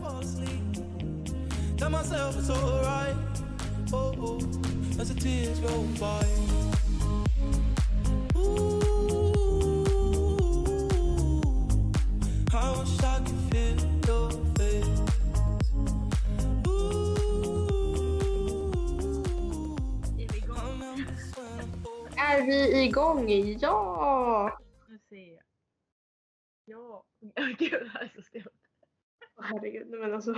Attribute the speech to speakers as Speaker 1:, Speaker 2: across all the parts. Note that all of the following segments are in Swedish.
Speaker 1: fall asleep. Tell myself it's alright. Oh, oh, as the tears roll by. Ooh, I wish I could feel your face. Ooh, I remember when I thought-
Speaker 2: Är vi igång? Ja!
Speaker 3: Nu ser jag. Ja. Åh, Gud, det här är så stelt.
Speaker 2: Åh, Herregud, nej men alltså.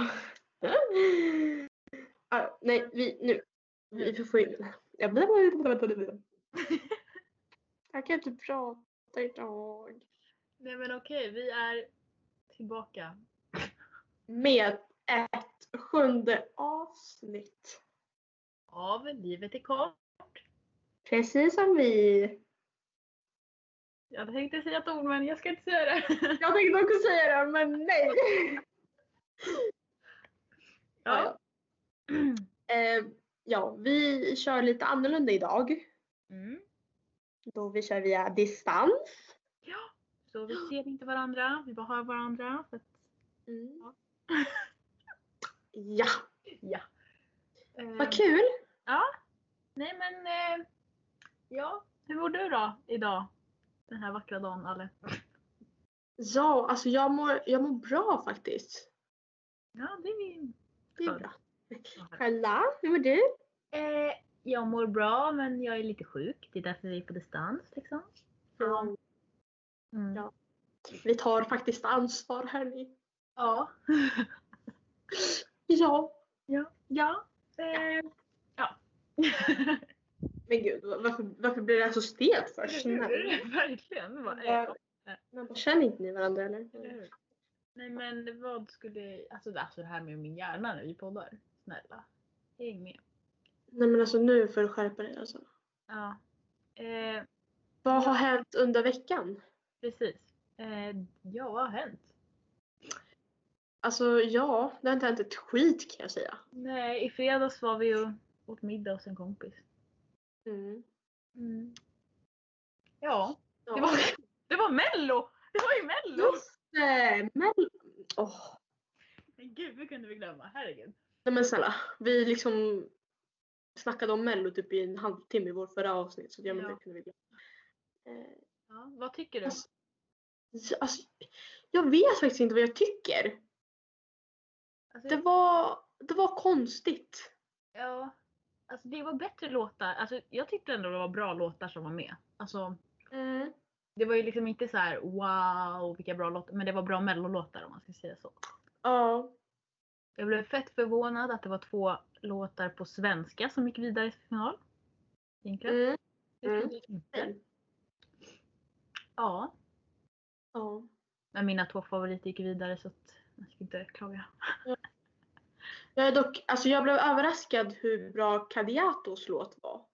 Speaker 2: ah, nej, vi, nu. Vi får få in. Jag blir... Jag kan inte prata idag.
Speaker 3: Nej men okej, vi är tillbaka.
Speaker 2: Med ett sjunde avsnitt.
Speaker 3: Av Livet är kort.
Speaker 2: Precis som vi.
Speaker 3: Jag tänkte säga ett ord men jag ska inte säga det.
Speaker 2: Jag tänkte också säga det, men nej.
Speaker 3: Ja.
Speaker 2: Eh, ja, vi kör lite annorlunda idag.
Speaker 3: Mm.
Speaker 2: Då vi kör via distans.
Speaker 3: ja. Så vi ser inte varandra, vi bara hör varandra. Så att,
Speaker 2: Mm.
Speaker 3: Ja.
Speaker 2: Ja,
Speaker 3: ja. Eh,
Speaker 2: vad kul.
Speaker 3: Ja. Nej men. Eh, ja. Hur mår du då idag? Den här vackra dagen Ale.
Speaker 2: Ja, alltså jag mår, jag mår bra faktiskt.
Speaker 3: Ja det är min.
Speaker 2: Det är
Speaker 3: Skönt.
Speaker 2: bra. Själva, hur mår du?
Speaker 3: Eh, jag mår bra men jag är lite sjuk. Det är därför vi är på distans liksom. Ja. Mm.
Speaker 2: Ja. Vi tar faktiskt ansvar hörni.
Speaker 3: Ja.
Speaker 2: Ja.
Speaker 3: Ja. Ja. Eh, ja.
Speaker 2: Men gud, varför, varför blir det här så stelt för? Snälla.
Speaker 3: Verkligen. Bara, eh,
Speaker 2: Ja. Men bara, Känner inte ni varandra eller?
Speaker 3: eller hur? Nej men vad skulle, alltså, alltså det här med min hjärna när vi poddar. Snälla. Häng med.
Speaker 2: Nej men alltså nu får du skärpa dig alltså.
Speaker 3: Ja. Eh,
Speaker 2: Vad har hänt under veckan?
Speaker 3: precis. Eh, ja, vad har hänt?
Speaker 2: Alltså ja, det har inte hänt ett skit kan jag säga.
Speaker 3: Nej, i fredags var vi ju åt middag hos en kompis.
Speaker 2: Mm.
Speaker 3: Ja.
Speaker 2: Ja.
Speaker 3: Det var, det var mello! Det var ju mello!
Speaker 2: Just det! Men... Eh, Åh.
Speaker 3: Men gud, hur kunde vi glömma? Herregud.
Speaker 2: Nej men snälla, vi liksom snackade om mello typ i en halvtimme i vårt förra avsnitt så jag menar
Speaker 3: Ja.
Speaker 2: det kunde vi glömma. Eh,
Speaker 3: Ja, vad tycker du?
Speaker 2: Alltså, Alltså, jag vet faktiskt inte vad jag tycker.
Speaker 3: Alltså,
Speaker 2: Det var, det var konstigt.
Speaker 3: Ja. Alltså det var bättre låtar. Alltså, jag tyckte ändå det var bra låtar som var med. Alltså,
Speaker 2: Mm.
Speaker 3: det var ju liksom inte så här wow vilka bra låtar. Men det var bra mellolåtar om man ska säga så.
Speaker 2: Ja.
Speaker 3: Jag blev fett förvånad att det var två låtar på svenska som gick vidare i final. Egentligen.
Speaker 2: Mm.
Speaker 3: Det trodde jag inte.
Speaker 2: Mm.
Speaker 3: Ja.
Speaker 2: ja.
Speaker 3: Men mina två favoriter gick vidare så att jag ska inte klaga.
Speaker 2: Jag, är dock, alltså jag blev överraskad hur bra Kadiatos låt var.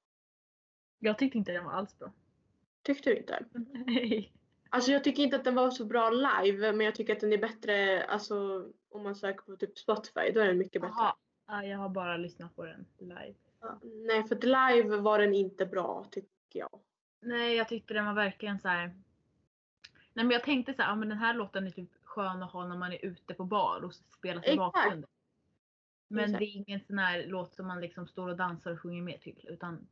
Speaker 3: Jag tyckte inte den var alls bra.
Speaker 2: Tyckte du inte?
Speaker 3: Mm. Nej.
Speaker 2: Alltså jag tycker inte att den var så bra live men jag tycker att den är bättre alltså, om man söker på typ Spotify. Då är den mycket bättre.
Speaker 3: Jaha. Ja, jag har bara lyssnat på den live.
Speaker 2: Ja, Nej, för att live var den inte bra tycker jag.
Speaker 3: Nej, jag tyckte den var verkligen så här. Nej, men jag tänkte så här, ja, men den här låten är typ skön att ha när man är ute på bar och spelar i
Speaker 2: Exakt.
Speaker 3: bakgrunden. Men
Speaker 2: Exakt.
Speaker 3: det är ingen sån här låt som man liksom står och dansar och sjunger med till. Utan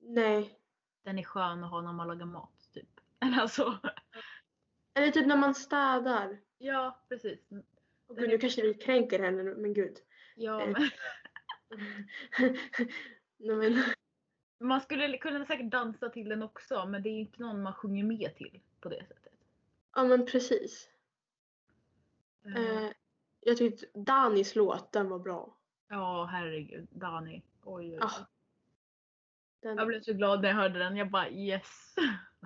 Speaker 2: Nej.
Speaker 3: den är skön att ha när man lagar mat typ. Eller alltså.
Speaker 2: Eller typ när man städar.
Speaker 3: Ja, precis.
Speaker 2: Och gud, nu kanske vi kränker henne nu, men gud.
Speaker 3: Ja,
Speaker 2: Eh.
Speaker 3: men,
Speaker 2: Nej, men,
Speaker 3: man skulle kunna säkert dansa till den också men det är ju inte någon man sjunger med till på det sättet.
Speaker 2: ja men precis.
Speaker 3: Eh,
Speaker 2: Eh, jag tyckte Danis låt, den var bra.
Speaker 3: Ja, herregud. Dani. Oj, oj, oj.
Speaker 2: Ah, Den,
Speaker 3: Jag blev så glad när jag hörde den. Jag bara yes.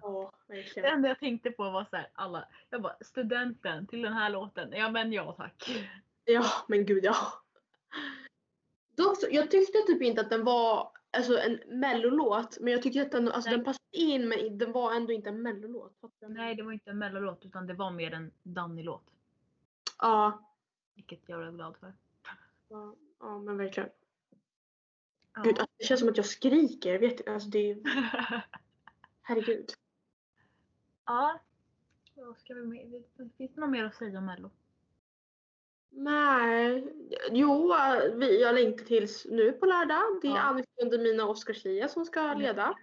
Speaker 2: Ja,
Speaker 3: Det
Speaker 2: verkligen.
Speaker 3: enda jag tänkte på var så här, alla, jag bara studenten till den här låten. Ja men ja tack.
Speaker 2: Ja, men gud ja. Dock, så- jag tyckte typ inte att den var alltså, en mellolåt, men jag tyckte att den, alltså,
Speaker 3: Nej.
Speaker 2: den passade in men den var ändå inte en mellolåt. Fattar du?
Speaker 3: Nej det var inte en mellolåt utan det var mer en Danny-låt.
Speaker 2: Ja,
Speaker 3: Vilket jag blev glad för.
Speaker 2: ja, ja, men verkligen.
Speaker 3: Ja.
Speaker 2: Gud, alltså, det känns som att jag skriker. Vet du? Alltså, det är, herregud.
Speaker 3: ja. Vad ska vi med? Finns det något mer att säga om mello?
Speaker 2: Nej. Jo, eh, vi, jag längtar tills nu på lördag. Det är
Speaker 3: Ja.
Speaker 2: Annika Lundemina och Oskar Zia som ska
Speaker 3: Mm.
Speaker 2: leda.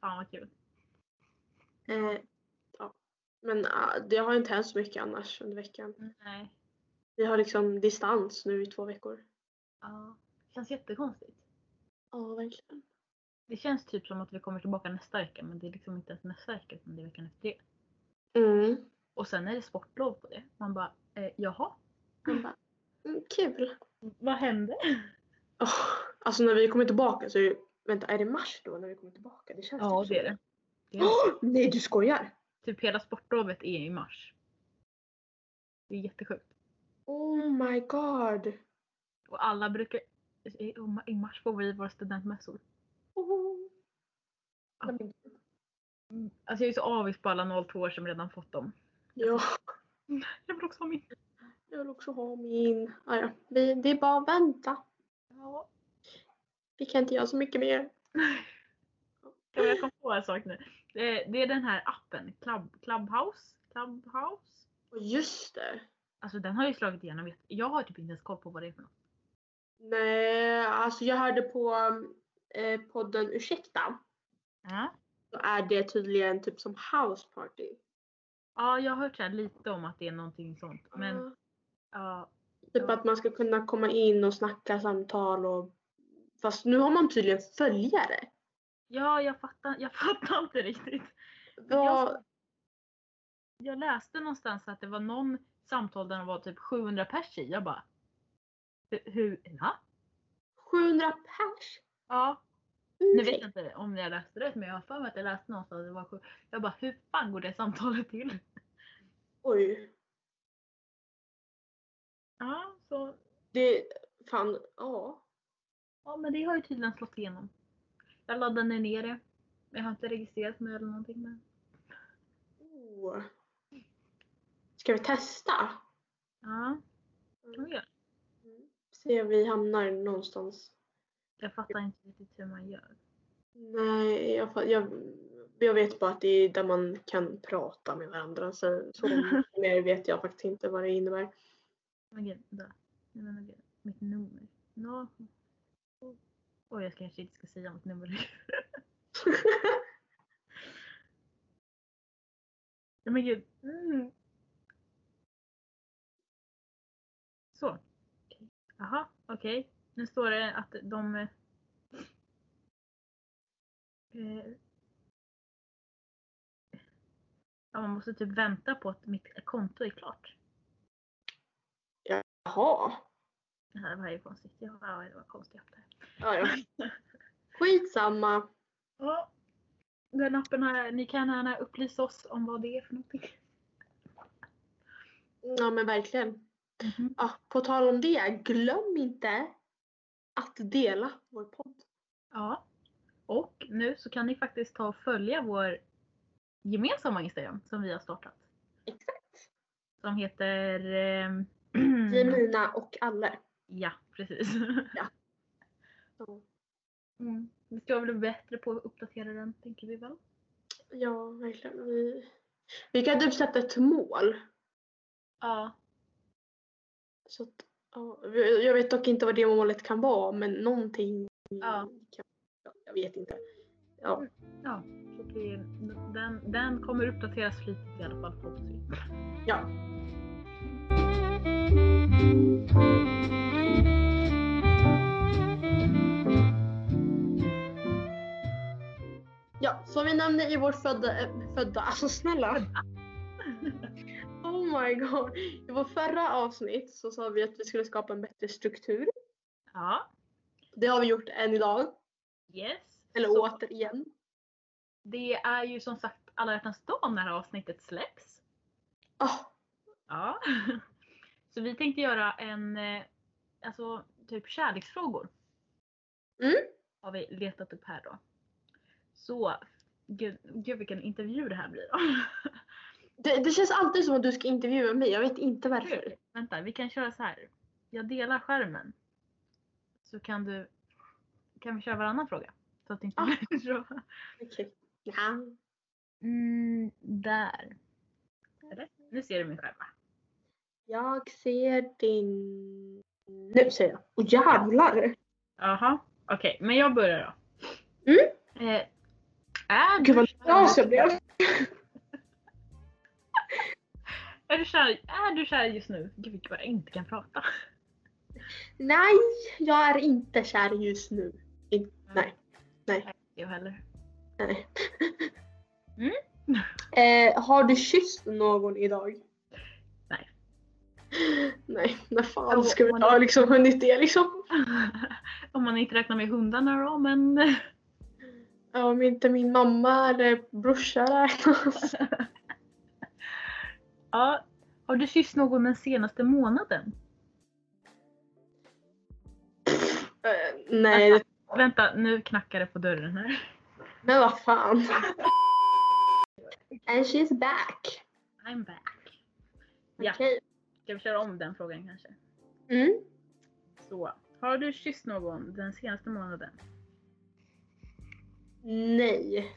Speaker 3: Fan vad kul.
Speaker 2: Eh, ja. Men eh, det har inte hänt så mycket annars under veckan.
Speaker 3: Nej.
Speaker 2: Vi har liksom distans nu i två veckor.
Speaker 3: Ja. Känns jättekonstigt.
Speaker 2: Ja, verkligen.
Speaker 3: Det känns typ som att vi kommer tillbaka nästa vecka men det är liksom inte ens nästa vecka utan det är veckan efter det.
Speaker 2: Mm.
Speaker 3: Och sen är det sportlov på det. Man bara, eh, jaha?
Speaker 2: Man bara, mm, kul.
Speaker 3: Vad hände?
Speaker 2: Åh, alltså när vi kommer tillbaka så är det, vänta, är det mars då när vi kommer tillbaka? Det känns
Speaker 3: Ja
Speaker 2: typ
Speaker 3: det är
Speaker 2: så.
Speaker 3: det. det är,
Speaker 2: Åh, nej du skojar!
Speaker 3: typ hela sportlovet är i mars. Det är jättesjukt.
Speaker 2: Oh my god!
Speaker 3: Och alla brukar, i- i mars får vi våra studentmässor.
Speaker 2: Oh.
Speaker 3: Alltså jag är så avis på alla 02 som redan fått dem.
Speaker 2: Ja,
Speaker 3: Jag vill också ha min.
Speaker 2: jag vill också ha min. Ah, ja. vi, det är bara att vänta.
Speaker 3: Ja.
Speaker 2: Vi kan inte göra så mycket mer.
Speaker 3: Ja, Jag kom på en sak nu. Eh, Det är den här appen, Club, Clubhouse. Clubhouse.
Speaker 2: Och just det. Alltså,
Speaker 3: Alltså den har ju slagit igenom. jätte- Jag har typ inte ens koll på vad det är för något.
Speaker 2: nej, alltså jag hörde på eh, podden Ursäkta.
Speaker 3: Ja,
Speaker 2: Då är det tydligen typ som house party.
Speaker 3: ja jag har hört så här lite om att det är någonting sånt. Men
Speaker 2: Ja.
Speaker 3: ja,
Speaker 2: typ att man ska kunna komma in och snacka samtal och Fast nu har man tydligen följare.
Speaker 3: ja jag, fattar, jag fattar inte riktigt.
Speaker 2: Vad...
Speaker 3: Jag läste någonstans att det var någon samtal där det var typ 700 pers i. Jag bara. "Hu- Hur? Ha?
Speaker 2: 700 pers?
Speaker 3: Ja, Nu vet
Speaker 2: Ursäkta.
Speaker 3: jag inte om jag läste rätt men jag har för mig att jag läste någonstans att det var sju. Jag bara hur fan går det samtalet till?
Speaker 2: Oj.
Speaker 3: Ja, så,
Speaker 2: Det... Fan, ja.
Speaker 3: ja men det har ju tydligen slått igenom. Jag laddade ner det. men Jag har inte registrerat mig eller någonting. Men...
Speaker 2: Oh. Ska vi testa?
Speaker 3: Ja, kan vi göra.
Speaker 2: Se om vi hamnar någonstans.
Speaker 3: Jag fattar inte riktigt hur man gör.
Speaker 2: Nej, jag, fa- jag, jag vet bara att det är där man kan prata med varandra. Så, så mycket mer vet jag faktiskt inte vad det innebär.
Speaker 3: Men gud, där. Jag menar gud, mitt nummer. No. Oj, jag kanske inte ska säga mitt nummer. Nej men gud. Mm. Så. Jaha, okej. Nu står det att de... eh, eh, Ja, man måste typ vänta på att mitt konto är klart.
Speaker 2: Jaha.
Speaker 3: Det här var ju konstigt. Ja, ja, det var konstigt. det här.
Speaker 2: Ja, ja. Skitsamma.
Speaker 3: Ja. Den appen här, ni kan gärna upplysa oss om vad det är för någonting.
Speaker 2: Ja men verkligen.
Speaker 3: Mhm.
Speaker 2: Ja, på tal om det, glöm inte att dela vår podd.
Speaker 3: Ja. Och nu så kan ni faktiskt ta och följa vår gemensamma Instagram som vi har startat.
Speaker 2: Exakt.
Speaker 3: Som heter... ehm,
Speaker 2: Jemina och Alle.
Speaker 3: ja, precis.
Speaker 2: Ja.
Speaker 3: Mm. Vi ska väl bli bättre på att uppdatera den, tänker vi väl.
Speaker 2: Ja, verkligen. Vi, vi kan typ sätta ett mål.
Speaker 3: Ja.
Speaker 2: Så att, ja, vi- jag vet dock inte vad det målet kan vara, men någonting.
Speaker 3: Ja.
Speaker 2: Kan, ja, jag vet inte. Ja,
Speaker 3: ja. Så att vi, den, den kommer uppdateras flitigt i alla fall, hoppas vi.
Speaker 2: ja. Ja, som vi nämnde i vår födda, äh, födda, alltså snälla. Oh my god. I vårt förra avsnitt så sa vi att vi skulle skapa en bättre struktur.
Speaker 3: Ja.
Speaker 2: Det har vi gjort än idag.
Speaker 3: Yes.
Speaker 2: Eller
Speaker 3: Så
Speaker 2: återigen.
Speaker 3: Det är ju som sagt alla hjärtans dag när det här avsnittet släpps.
Speaker 2: Ah,
Speaker 3: Ja. Så vi tänkte göra en, eh, alltså typ kärleksfrågor.
Speaker 2: Mm.
Speaker 3: Har vi letat upp här då. Så, gud, gud vilken intervju det här blir då.
Speaker 2: Det, det känns alltid som att du ska intervjua mig. Jag vet inte varför.
Speaker 3: Kul. Alltså, Vänta, vi kan köra så här. Jag delar skärmen. Så kan du, kan vi köra varannan fråga? Så att det inte
Speaker 2: Ah.
Speaker 3: blir så.
Speaker 2: Okej. Ja.
Speaker 3: Mm, där. Eller? Nu ser du min skärm va?
Speaker 2: Jag ser din... Nu säger jag. Åh jävlar!
Speaker 3: Jaha, okej. Men jag börjar då.
Speaker 2: Mm.
Speaker 3: Eh, är,
Speaker 2: Gud
Speaker 3: du
Speaker 2: vad nervös jag
Speaker 3: kär,
Speaker 2: blev.
Speaker 3: är, du kär, är du kär just nu? Gud vad jag inte kan prata.
Speaker 2: Nej, jag är inte kär just nu. Nej. Nej.
Speaker 3: Jag heller.
Speaker 2: Nej.
Speaker 3: Mm.
Speaker 2: Eh, har du kysst någon idag?
Speaker 3: Nej.
Speaker 2: Nej, när fan
Speaker 3: Jo,
Speaker 2: ska vi
Speaker 3: man-
Speaker 2: ha liksom hunnit det liksom?
Speaker 3: Om man inte räknar med hundarna då, men...
Speaker 2: Ja, Om inte min mamma eller brorsa räknas.
Speaker 3: ja. Har du kysst någon den senaste månaden?
Speaker 2: Eh, Nej,
Speaker 3: Vänta, nu knackar det på dörren här.
Speaker 2: men vad fan. And she's back.
Speaker 3: I'm back. Ja.
Speaker 2: Okej. Okay.
Speaker 3: Ska vi köra om den frågan kanske?
Speaker 2: Mm.
Speaker 3: Så. Har du kysst någon den senaste månaden?
Speaker 2: Nej,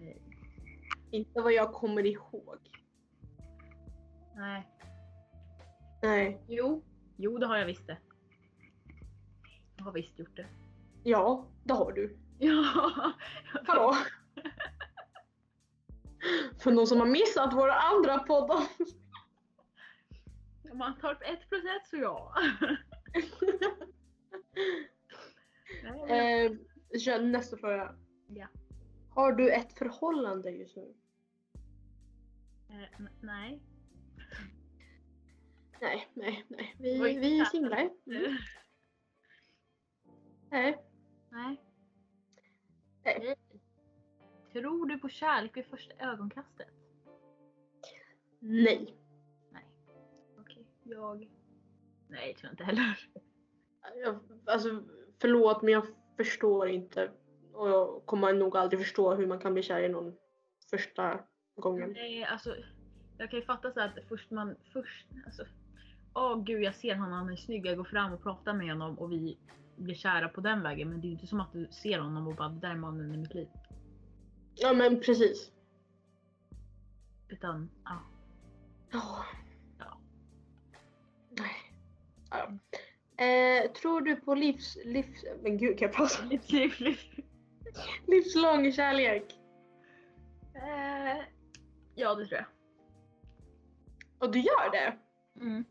Speaker 3: Nej.
Speaker 2: inte vad jag kommer ihåg.
Speaker 3: Nej.
Speaker 2: Nej.
Speaker 3: Jo. Jo, det har jag visst det. Jag har visst gjort det.
Speaker 2: Ja, det har du.
Speaker 3: Ja.
Speaker 2: Hallå? För någon som har missat våra andra poddar.
Speaker 3: Om man tar ett plus ett så ja. Nej, men-
Speaker 2: eh, kör nästa fråga.
Speaker 3: Ja.
Speaker 2: Har du ett förhållande just nu?
Speaker 3: Eh, n- nej.
Speaker 2: Nej, nej, nej. Vi,
Speaker 3: Oj,
Speaker 2: vi är
Speaker 3: tack.
Speaker 2: singlar. Mm. Nej.
Speaker 3: Nej.
Speaker 2: Nej.
Speaker 3: Tror du på kärlek vid första ögonkastet?
Speaker 2: Nej.
Speaker 3: Nej. Okej, jag... Nej, tror jag inte heller.
Speaker 2: Jag, alltså, förlåt men jag förstår inte. Och jag kommer nog aldrig förstå hur man kan bli kär i någon första gången.
Speaker 3: Nej, alltså. Jag kan ju fatta så här att först man... Först, alltså. Åh gud, jag ser honom, han är snygg. Jag går fram och pratar med honom och vi blir kära på den vägen. Men det är ju inte som att du ser honom och bara det där är mannen i mitt liv.
Speaker 2: Ja men precis.
Speaker 3: Utan, ja.
Speaker 2: Ja.
Speaker 3: Ja.
Speaker 2: Nej. Ja. Eh, tror du på livs... livs men gud, kan jag prata?
Speaker 3: Liv, liv, liv.
Speaker 2: Livslång kärlek.
Speaker 3: Eh, Ja, det tror jag.
Speaker 2: Och du gör det?
Speaker 3: Mm.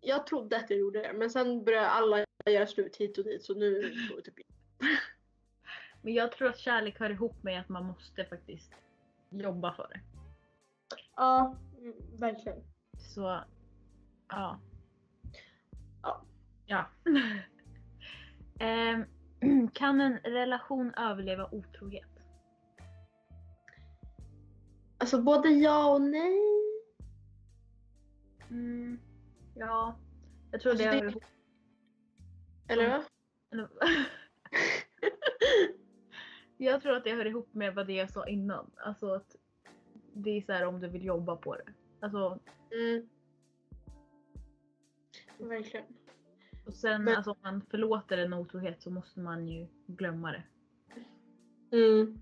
Speaker 2: Jag trodde att jag gjorde det, men sen började alla göra slut hit och dit så nu går det typ in.
Speaker 3: Men jag tror att kärlek hör ihop med att man måste faktiskt jobba för det.
Speaker 2: Ja, mm, verkligen.
Speaker 3: Så, ja.
Speaker 2: Ja.
Speaker 3: Ja. Ehm, kan en relation överleva otrohet?
Speaker 2: Alltså både ja och nej.
Speaker 3: Mm, ja. Jag tror
Speaker 2: Alltså,
Speaker 3: det
Speaker 2: det-
Speaker 3: hör ihop.
Speaker 2: Eller vad?
Speaker 3: eller- Jag tror att det hör ihop med vad det jag sa innan. Alltså att det är så här om du vill jobba på det. Alltså,
Speaker 2: Mm. Verkligen.
Speaker 3: och sen
Speaker 2: Men-
Speaker 3: alltså, om man förlåter en otrohet så måste man ju glömma det.
Speaker 2: Mm.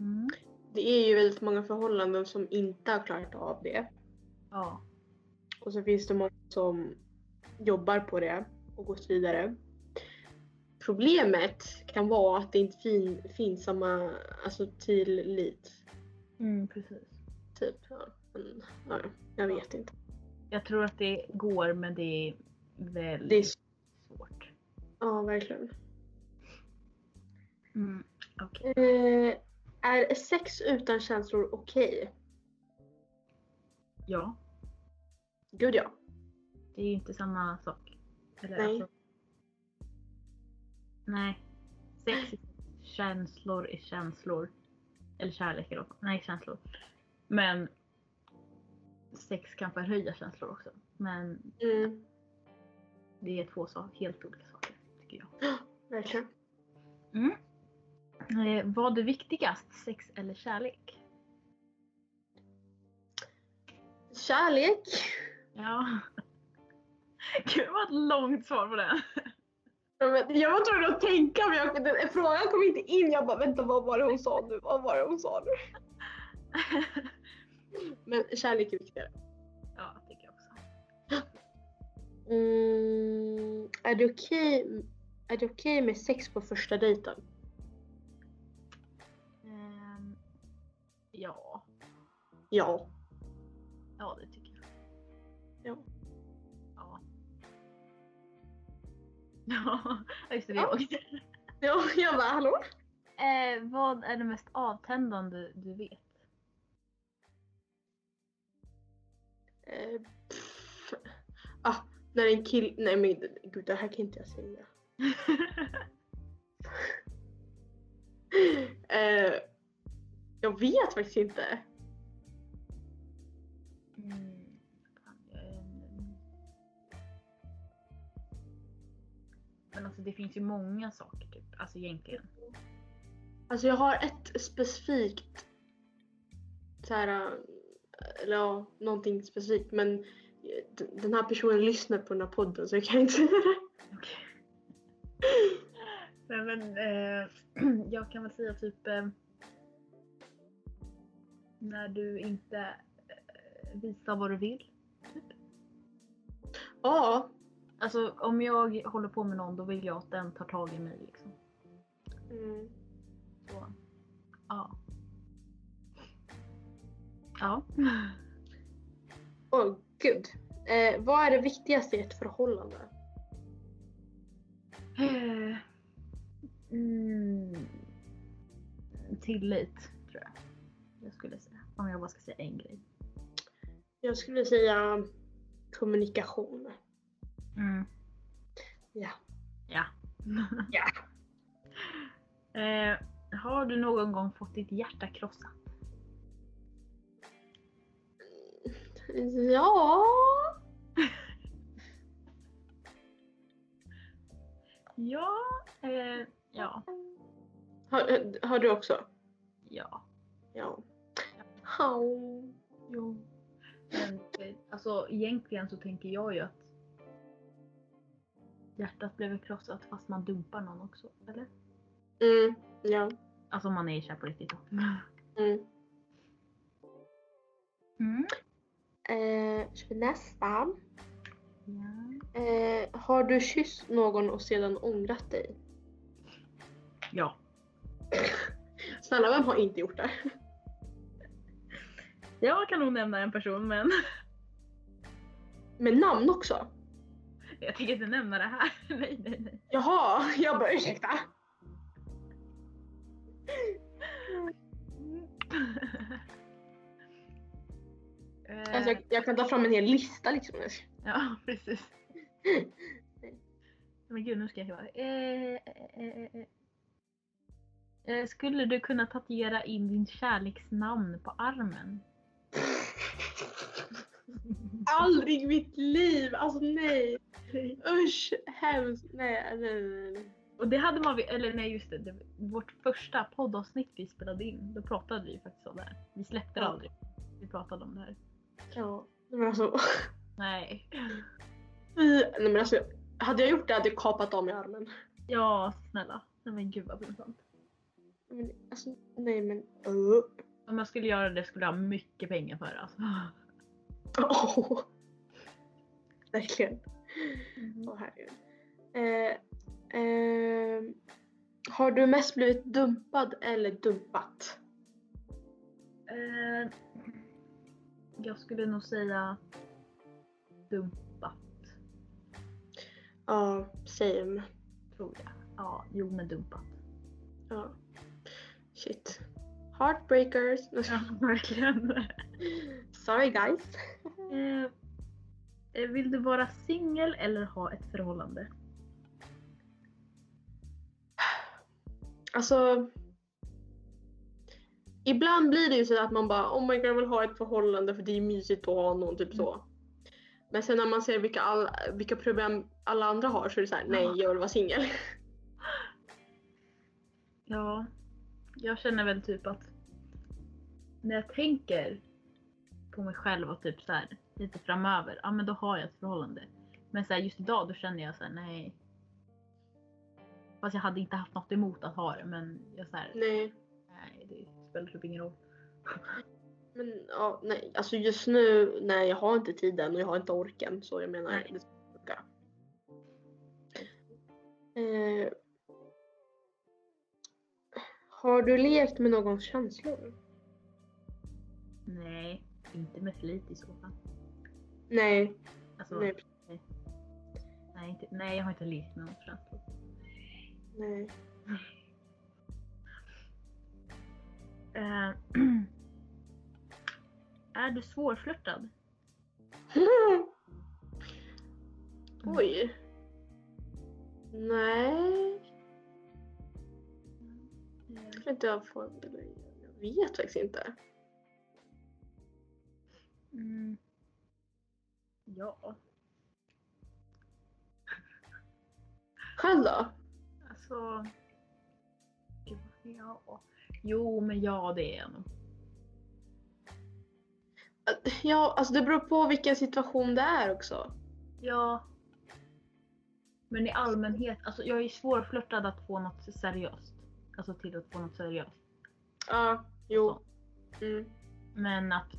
Speaker 3: Mm.
Speaker 2: Det är ju väldigt många förhållanden som inte har klarat av det.
Speaker 3: Ja.
Speaker 2: Och så finns det många som jobbar på det och gått vidare. Problemet kan vara att det inte fin, finns samma alltså, tillit.
Speaker 3: Mm, precis.
Speaker 2: Typ. Ja, men, ja, jag vet inte.
Speaker 3: Jag tror att det går men det är väldigt
Speaker 2: Det är, s-
Speaker 3: svårt.
Speaker 2: ja, verkligen.
Speaker 3: Mm. Okej.
Speaker 2: Eh, är sex utan känslor okej?
Speaker 3: Ja,
Speaker 2: Gud ja.
Speaker 3: det är ju inte samma sak. Eller,
Speaker 2: Nej.
Speaker 3: alltså- nej. Sex är känslor är känslor. Eller kärlek är också. Nej, känslor. Men sex kan förhöja känslor också. Men
Speaker 2: Mm,
Speaker 3: det är två så, helt olika saker tycker jag.
Speaker 2: verkligen.
Speaker 3: Eh, vad är viktigast? Sex eller kärlek?
Speaker 2: Kärlek.
Speaker 3: Ja. Gud vad ett långt svar på den.
Speaker 2: Ja, men Jag var tvungen att tänka men jag, den, frågan kom inte in. Jag bara vänta vad var det hon sa nu? Vad var det hon sa nu? Men kärlek är viktigare.
Speaker 3: Ja, tycker jag också.
Speaker 2: Mm, är det okej är det okej med sex på första dejten?
Speaker 3: Ehm, ja.
Speaker 2: Ja.
Speaker 3: ja, det tycker jag.
Speaker 2: Ja.
Speaker 3: Ja. Ja, just det. det är
Speaker 2: Ja.
Speaker 3: jag.
Speaker 2: ja jag bara, hallå?
Speaker 3: Eh, vad är det mest avtändande du vet?
Speaker 2: Eh, pff. ah, när en kille... Nej men gud, det här kan inte jag säga.
Speaker 3: Mm,
Speaker 2: Eh, jag vet faktiskt inte.
Speaker 3: Mm, fan, jag är en- Men alltså det finns ju många saker typ. Alltså egentligen.
Speaker 2: Alltså jag har ett specifikt så här, eller ja, någonting specifikt men eh, d- den här personen lyssnar på den här podden så jag kan inte säga det.
Speaker 3: Okej. Nej men eh, jag kan väl säga typ eh, när du inte eh, visar vad du vill.
Speaker 2: Ja,
Speaker 3: Alltså om jag håller på med någon då vill jag att den tar tag i mig liksom.
Speaker 2: mm,
Speaker 3: Så. Ja. Ja.
Speaker 2: åh gud. Eh, vad är det viktigaste i ett förhållande?
Speaker 3: Eh, Mm. Tillit, tror jag. Jag skulle säga. Om jag bara ska säga en grej.
Speaker 2: Jag skulle säga kommunikation.
Speaker 3: Mm.
Speaker 2: Ja.
Speaker 3: Ja.
Speaker 2: Ja.
Speaker 3: Eh, har du någon gång fått ditt hjärta krossat?
Speaker 2: Ja,
Speaker 3: Ja. Eh, ja.
Speaker 2: har, eh, har du också?
Speaker 3: Ja.
Speaker 2: Ja. Oh.
Speaker 3: Jo. Men eh, alltså egentligen så tänker jag ju att hjärtat blev krossat fast man dumpar någon också. Eller?
Speaker 2: Mm, ja.
Speaker 3: Alltså om man är kär på riktigt då.
Speaker 2: Mm.
Speaker 3: Mm.
Speaker 2: Eh, kör vi nästa.
Speaker 3: Ja.
Speaker 2: Eh, har du kysst någon och sedan ångrat dig?
Speaker 3: ja.
Speaker 2: Snälla, vem har inte gjort det?
Speaker 3: Jag kan nog nämna en person men
Speaker 2: Med namn också?
Speaker 3: jag tänker inte nämna det här. Nej, nej, nej.
Speaker 2: Jaha, jag bara ursäkta.
Speaker 3: Mm. Eh,
Speaker 2: Alltså, jag, jag kan ta fram en hel lista liksom.
Speaker 3: Ja, precis. Men gud, nu ska jag vara. Eh, eh, eh, eh, eh. Eh, skulle du kunna tatuera in din kärleksnamn på armen?
Speaker 2: Aldrig i mitt liv! Alltså nej! Usch, hemskt. Nej, nej, nej. nej.
Speaker 3: Och det hade man, vi- eller nej just det, det, vårt första poddavsnitt vi spelade in, då pratade vi faktiskt om det här. Vi släppte det
Speaker 2: Ja.
Speaker 3: aldrig. Vi pratade om det här.
Speaker 2: Ja, men alltså.
Speaker 3: Nej.
Speaker 2: Fy. Nej, men alltså. Hade jag gjort det hade jag kapat av mig armen.
Speaker 3: Ja, snälla. Nej men gud vad pinsamt.
Speaker 2: Men, alltså, nej men. Uh.
Speaker 3: Om jag skulle göra det skulle jag ha mycket pengar för det alltså.
Speaker 2: Åh. Verkligen. Åh herregud. Eh, ehm, har du mest blivit dumpad eller dumpat?
Speaker 3: Eh, jag skulle nog säga dumpat,
Speaker 2: Ja, same.
Speaker 3: tror jag. Ja, jo men dumpat.
Speaker 2: Ja. Shit. Heartbreakers.
Speaker 3: verkligen.
Speaker 2: Sorry guys.
Speaker 3: Eh, eh, vill du vara singel eller ha ett förhållande?
Speaker 2: Alltså. Ibland blir det ju så att man bara oh my god jag vill ha ett förhållande för det är mysigt att ha någon typ så. Men sen när man ser vilka, all, vilka problem alla andra har så är det såhär nej jag vill vara singel.
Speaker 3: Ja, jag känner väl typ att när jag tänker på mig själv och typ så här lite framöver, ja men då har jag ett förhållande. Men så här, just idag då känner jag så här, nej. Fast jag hade inte haft något emot att ha det men jag så här,
Speaker 2: Nej.
Speaker 3: nej det spelar typ ingen roll.
Speaker 2: Men ja, nej, alltså just nu, nej jag har inte tiden och jag har inte orken så jag menar
Speaker 3: Nej.
Speaker 2: det ska funka. Eh, har du lekt med någons känslor?
Speaker 3: Nej, inte med flit i så fall.
Speaker 2: Nej.
Speaker 3: Alltså,
Speaker 2: Nej.
Speaker 3: nej. Nej, inte, nej, jag har inte lekt med någon känslor.
Speaker 2: nej.
Speaker 3: Eh, är du svårflörtad?
Speaker 2: Oj. Nej.
Speaker 3: Eh,
Speaker 2: Jag, inte jag, får, eller jag vet faktiskt inte.
Speaker 3: Mm. Ja,
Speaker 2: Själv då?
Speaker 3: alltså... Gud, Ja. Jo, men ja det är jag nog.
Speaker 2: Ja, alltså det beror på vilken situation det är också.
Speaker 3: Ja. Men i allmänhet, alltså jag är svårflörtad att få något seriöst. Alltså till att få något seriöst.
Speaker 2: Ja, jo. Mm.
Speaker 3: Men att...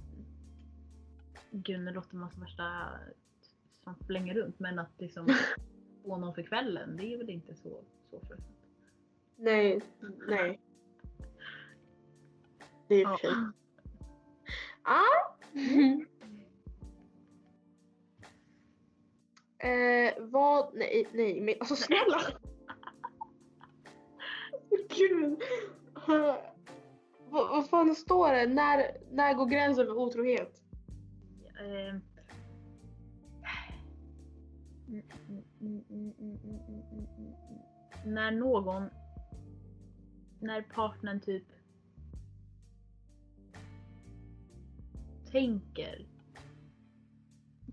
Speaker 3: Gud, nu låter man som värsta som flänger runt. Men att liksom få någon för kvällen, det är väl inte så, så fruktansvärt.
Speaker 2: Nej, nej. Det är
Speaker 3: Ja.
Speaker 2: fint. Ja. eh, vad, nej, nej, men alltså snälla. Gud. Eh, vad, vad fan står det? När, när går gränsen för otrohet?
Speaker 3: Ehm. Mm, mm, mm, mm, mm, mm, mm, mm, mm. När någon... När partnern typ... Tänker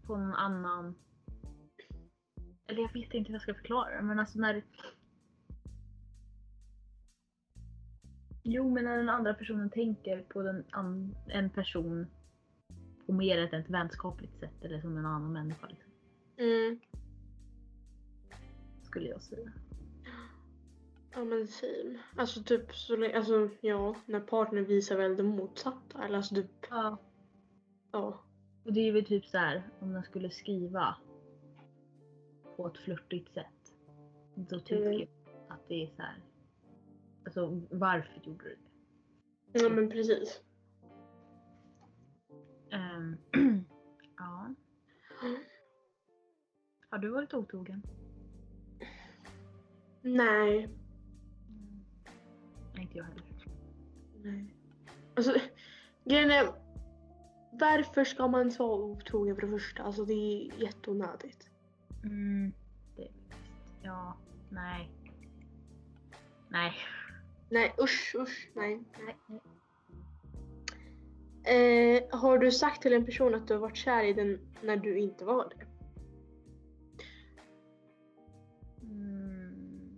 Speaker 3: på någon annan. Eller jag vet inte hur jag ska förklara det, men alltså när... Jo, men när den andra personen tänker på den an- en person på mer än ett vänskapligt sätt eller som en annan människa. Liksom,
Speaker 2: Mm.
Speaker 3: skulle jag säga.
Speaker 2: Ja men same. Alltså typ så lä- alltså ja, när partnern visar väl det motsatta. Eller alltså typ,
Speaker 3: Ja.
Speaker 2: ja.
Speaker 3: Och det är väl typ så här om den skulle skriva på ett flörtigt sätt. Då tycker
Speaker 2: Mm.
Speaker 3: jag att det är så här. Alltså varför gjorde du det?
Speaker 2: Ja men precis.
Speaker 3: Ehm, Mm. ja. Har du varit otrogen?
Speaker 2: Nej.
Speaker 3: Nej, inte jag heller.
Speaker 2: Nej. Alltså grejen är. Varför ska man vara otrogen för det första? Alltså det är jätteonödigt.
Speaker 3: Mm, det Ja, nej. Nej.
Speaker 2: Nej usch usch nej.
Speaker 3: nej.
Speaker 2: Eh, har du sagt till en person att du har varit kär i den när du inte var det?
Speaker 3: Mm.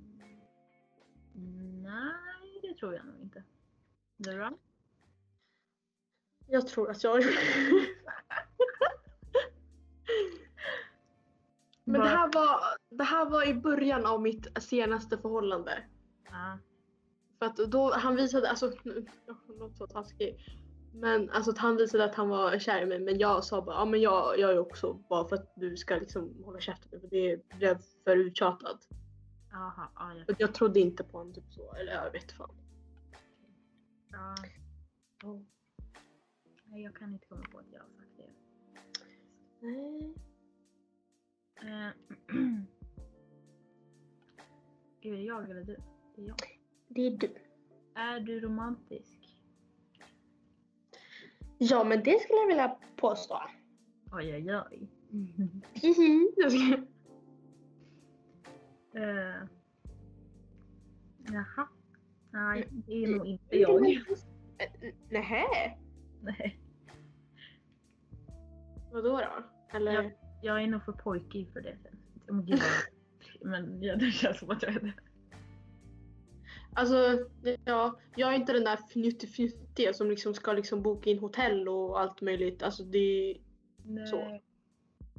Speaker 3: Nej, det tror jag nog inte. Du då?
Speaker 2: Jag tror att jag har Men det här, var, det här var i början av mitt senaste förhållande.
Speaker 3: Ja.
Speaker 2: För att då, han visade, alltså nu- jag låter så taskig. Men alltså att han visade att han var kär i mig men jag sa bara ja men jag, jag är också bara för att du ska liksom hålla käften för det blev för uttjatat.
Speaker 3: Aha, ja, jag,
Speaker 2: För jag trodde inte på honom typ så eller jag vet fan.
Speaker 3: ja. Oh. Nej, jag kan inte komma på att jag har sagt det.
Speaker 2: Nej.
Speaker 3: Eh, är det jag eller du? Det är jag.
Speaker 2: Det är du.
Speaker 3: Är du romantisk?
Speaker 2: Ja men det skulle jag vilja påstå.
Speaker 3: Oj, oj, oj.
Speaker 2: Hihi. Jag ska-
Speaker 3: Eh, Jaha. Nej, det är nog inte jag.
Speaker 2: Nähä?
Speaker 3: Nej.
Speaker 2: Vadå då? Eller?
Speaker 3: Ja. Jag är nog för pojkig för det. Men, gud, vad- men ja, det känns som att jag är det.
Speaker 2: Alltså, ja, jag är inte den där fnuttig-fnuttiga som liksom ska liksom boka in hotell och allt möjligt. Alltså, det,
Speaker 3: Nej.
Speaker 2: Så.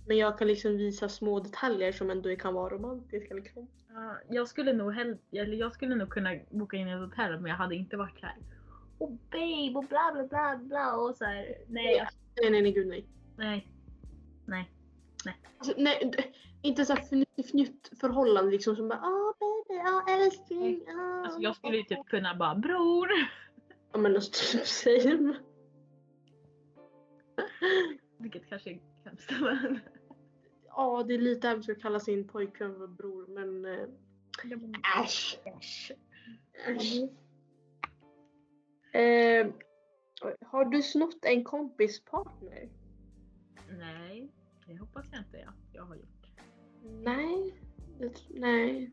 Speaker 2: men jag kan liksom visa små detaljer som ändå kan vara romantiska. Liksom.
Speaker 3: Ja, jag, skulle nog hell- eller jag skulle nog kunna boka in ett hotell men jag hade inte varit här. oh babe och bla bla bla bla och så här. Nej, alltså,
Speaker 2: Nej, nej, nej, gud nej.
Speaker 3: nej.
Speaker 2: Alltså, nej d- inte såhär fnytt förhållande liksom som bara ah baby, ah älskling, ah.
Speaker 3: Alltså, jag skulle ju typ kunna bara bror.
Speaker 2: Ja men alltså typ same.
Speaker 3: Vilket kanske är hemskt. men-
Speaker 2: Ja, det är lite hemskt att kalla sin pojkvän för bror men eh, äsch.
Speaker 3: Äsch.
Speaker 2: äsch. Eh, har du snott en kompis partner?
Speaker 3: Nej, det hoppas jag inte jag, jag har gjort.
Speaker 2: Nej. Jag tr- nej.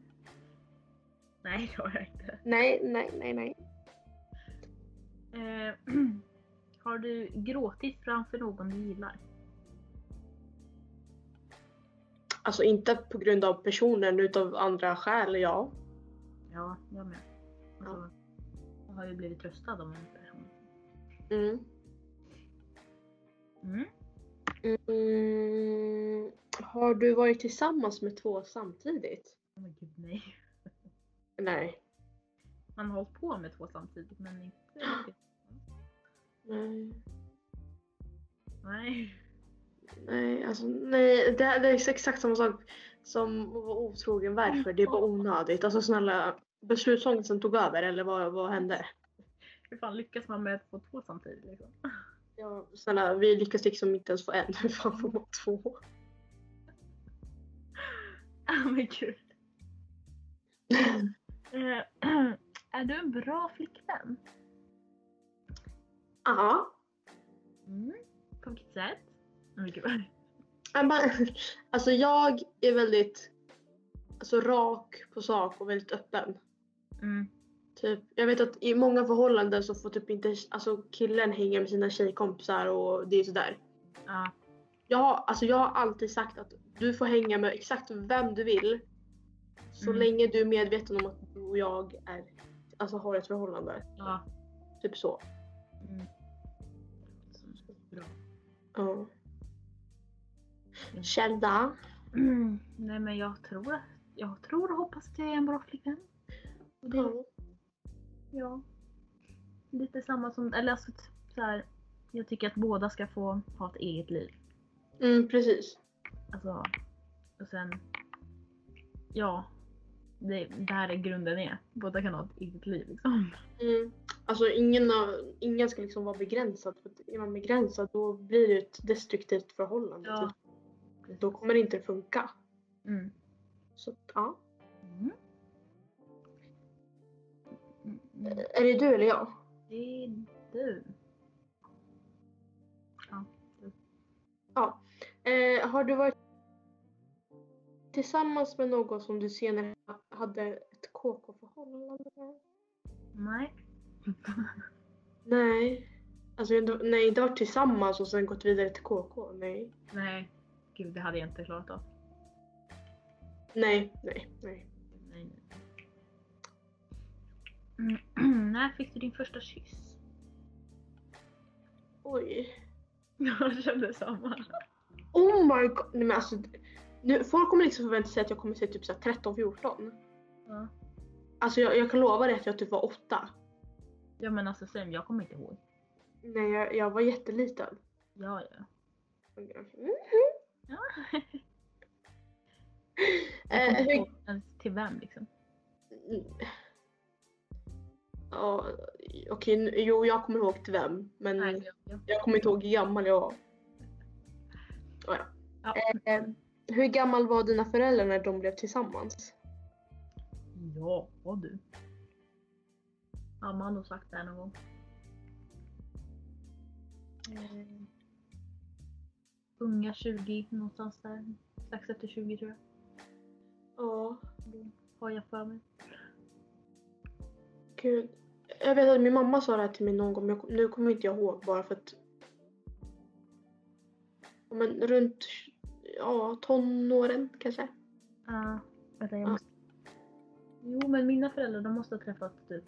Speaker 3: Nej, det har jag inte.
Speaker 2: Nej, nej, nej, nej.
Speaker 3: Eh, har du gråtit framför någon du gillar?
Speaker 2: Alltså inte på grund av personen utav andra skäl, ja.
Speaker 3: Ja, jag med. Alltså, jag har ju blivit tröstad av en person.
Speaker 2: Mm.
Speaker 3: Mm.
Speaker 2: Mm. Har du varit tillsammans med två samtidigt?
Speaker 3: Men gud nej.
Speaker 2: Nej.
Speaker 3: Man har hållit på med två samtidigt men inte riktigt.
Speaker 2: Nej,
Speaker 3: Nej.
Speaker 2: nej, alltså, nej. Det, här- det är exakt samma sak som att vara otrogen. Varför? Det var onödigt. Alltså snälla, beslutsångesten tog över eller vad, vad hände?
Speaker 3: Hur fan lyckas man med att få två samtidigt liksom?
Speaker 2: Ja, snälla, vi lyckas liksom inte ens få en. Hur fan får man två?
Speaker 3: Ah, men gud. Eh, är du en bra flickvän?
Speaker 2: Ja.
Speaker 3: Mm. På vilket sätt? Oh, gud.
Speaker 2: Jag bara- Alltså jag är väldigt alltså, rak på sak och väldigt öppen.
Speaker 3: Mm.
Speaker 2: Typ, jag vet att i många förhållanden så får typ inte alltså, killen hänga med sina tjejkompisar och det är sådär.
Speaker 3: Ja.
Speaker 2: Jag har, alltså, jag har alltid sagt att du får hänga med exakt vem du vill. Så
Speaker 3: Mm.
Speaker 2: länge du är medveten om att du och jag är, alltså, har ett förhållande.
Speaker 3: ja.
Speaker 2: Typ så.
Speaker 3: Mm. Så Bra.
Speaker 2: Ja. Kända.
Speaker 3: Mm. Nej men jag tror att jag tror och hoppas att jag är en bra flickvän. Och det-
Speaker 2: Ja.
Speaker 3: Ja. Lite samma som, eller alltså t- så här, jag tycker att båda ska få ha ett eget liv.
Speaker 2: Mm, precis.
Speaker 3: Alltså, och sen, ja. Det, det här är grunden är. Båda kan ha ett eget liv liksom.
Speaker 2: Mm. Alltså ingen, av- ingen ska liksom vara begränsad. För att är man begränsad då blir det ett destruktivt förhållande.
Speaker 3: Ja.
Speaker 2: Typ. Då kommer det inte funka.
Speaker 3: Mm.
Speaker 2: Så att, ja.
Speaker 3: Mm. Mm, mm.
Speaker 2: Är det du eller jag?
Speaker 3: Det är du.
Speaker 2: Eh, har du varit tillsammans med någon som du senare ha- hade ett KK-förhållande med?
Speaker 3: Nej.
Speaker 2: Nej. Alltså jag har inte- nej, inte varit tillsammans och sen gått vidare till KK. Nej.
Speaker 3: Nej. Gud, det hade jag inte klarat av.
Speaker 2: Nej, nej, nej.
Speaker 3: Nej, nej. Mm. När fick du din första kyss?
Speaker 2: Oj.
Speaker 3: Jag kände samma.
Speaker 2: Oh my god. Nej, men alltså, nu, folk kommer liksom förvänta sig att jag kommer säga typ så här 13, 14.
Speaker 3: Ja.
Speaker 2: Alltså jag, jag kan lova dig att jag typ var åtta.
Speaker 3: ja men alltså Sam, jag kommer inte ihåg.
Speaker 2: Nej, jag, jag var jätteliten.
Speaker 3: Ja, ja.
Speaker 2: Mm.
Speaker 3: ja.
Speaker 2: Eh, hur,
Speaker 3: Ens till vem liksom?
Speaker 2: Mm. Ja, okej, nu- jo jag kommer ihåg till vem. Men
Speaker 3: Nej, jag,
Speaker 2: jag kommer inte ihåg hur gammal jag var. Oh, ja.
Speaker 3: Ja.
Speaker 2: Eh, hur gammal var dina föräldrar när de blev tillsammans?
Speaker 3: ja. ja du. Mamma har nog sagt det här någon gång. Eh, Unga 20, någonstans där. Strax efter 20 tror jag.
Speaker 2: Ja,
Speaker 3: Har jag för mig.
Speaker 2: gud. Jag vet att min mamma sa det här till mig någon gång, men jag kom- nu kommer inte jag ihåg bara för att... Ja, Men runt ja, tonåren kanske.
Speaker 3: Ja, vänta jag
Speaker 2: Ja.
Speaker 3: måste... Jo men mina föräldrar de måste ha träffat typ...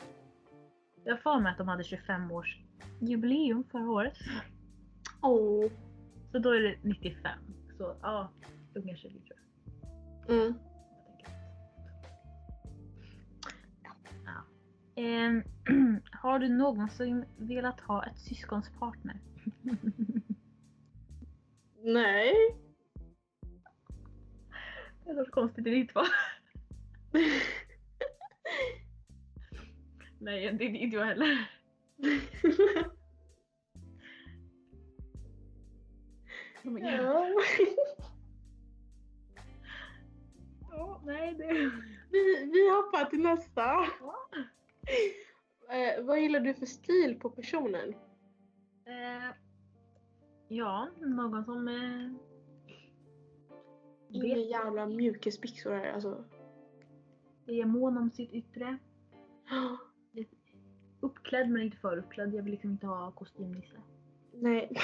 Speaker 3: Jag har för mig att de hade 25 års jubileum förra året.
Speaker 2: Åh.
Speaker 3: Så då är det 95. Så ja, unga 20 tror jag.
Speaker 2: Mm.
Speaker 3: jag tänker. Ja. Ehm, Har du någonsin velat ha ett syskonspartner?
Speaker 2: Nej.
Speaker 3: Det låter konstigt i ditt fall. Nej, det är inte jag heller. Oh my God.
Speaker 2: ja.
Speaker 3: Ja, nej, det...
Speaker 2: vi, vi hoppar till nästa.
Speaker 3: Ja.
Speaker 2: Eh, vad gillar du för stil på personen?
Speaker 3: Eh, ja, någon som... Eh,
Speaker 2: Inga
Speaker 3: vet,
Speaker 2: jävla mjukisbyxor här alltså.
Speaker 3: är mån om sitt yttre. Uppklädd men inte för uppklädd. Jag vill liksom inte ha kostymnisse.
Speaker 2: Nej.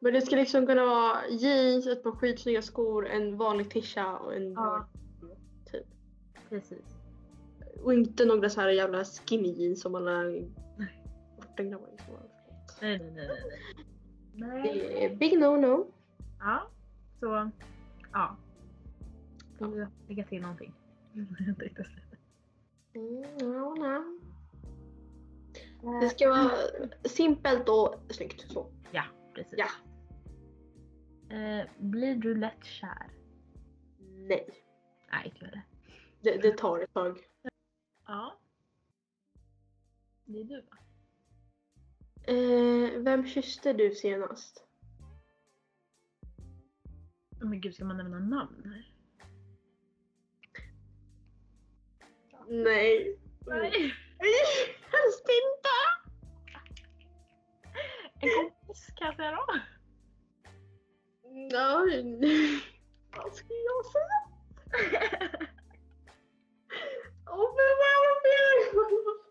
Speaker 2: Men det ska liksom kunna vara jeans, ett par skitsnygga skor, en vanlig tisha och en
Speaker 3: Ja.
Speaker 2: Typ.
Speaker 3: Precis.
Speaker 2: Och inte några så här jävla skinny jeans som alla bortagrabbar. liksom.
Speaker 3: Nej, nej, nej. nej, nej. nej.
Speaker 2: Det är big no no.
Speaker 3: Ja, så... Ja. Vill du lägga till någonting? Jag tänkte säga.
Speaker 2: Mm, ja, nej.
Speaker 3: Eh,
Speaker 2: Det ska vara simpelt och snyggt. Så.
Speaker 3: Ja, precis.
Speaker 2: Ja.
Speaker 3: Eh, blir du lätt kär?
Speaker 2: Nej,
Speaker 3: Nej, inte jag det.
Speaker 2: det, det tar ett tag.
Speaker 3: Ja. Det är du va?
Speaker 2: Eh, vem kysste du senast?
Speaker 3: Oh, men gud, ska man nämna namn här?
Speaker 2: Nej.
Speaker 3: Nej!
Speaker 2: Helst inte!
Speaker 3: En kompis kan jag säga då.
Speaker 2: Ja, vad ska jag säga? Åh, oh, men vad jag menar.